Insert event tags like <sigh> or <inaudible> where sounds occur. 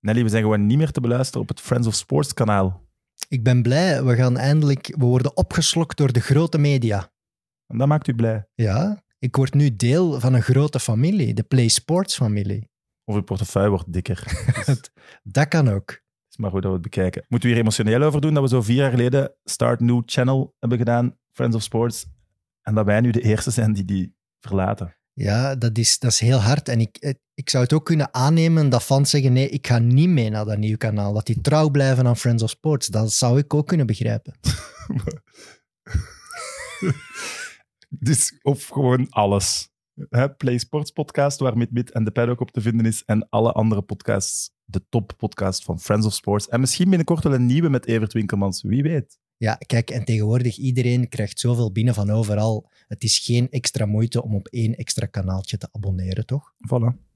Nelly, we zijn gewoon niet meer te beluisteren op het Friends of Sports kanaal. Ik ben blij, we gaan eindelijk... We worden opgeslokt door de grote media. En dat maakt u blij. Ja, ik word nu deel van een grote familie, de Play Sports familie. Of uw portefeuille wordt dikker. <laughs> Het Dat kan ook. is maar goed dat we het bekijken. Moeten we hier emotioneel over doen dat we zo vier jaar geleden Start New Channel hebben gedaan, Friends of Sports, en dat wij nu de eerste zijn die die verlaten. Ja, dat is, dat is heel hard. En ik, eh, ik zou het ook kunnen aannemen dat fans zeggen, nee, ik ga niet mee naar dat nieuwe kanaal. Dat die trouw blijven aan Friends of Sports. Dat zou ik ook kunnen begrijpen. Dus, of gewoon alles. Hè, Play Sports podcast, waar MidMid en de Pad ook op te vinden is. En alle andere podcasts. De top podcast van Friends of Sports. En misschien binnenkort wel een nieuwe met Evert Winkelmans. Wie weet. Ja, kijk, en tegenwoordig iedereen krijgt zoveel binnen van overal. Het is geen extra moeite om op één extra kanaaltje te abonneren, toch? Voilà.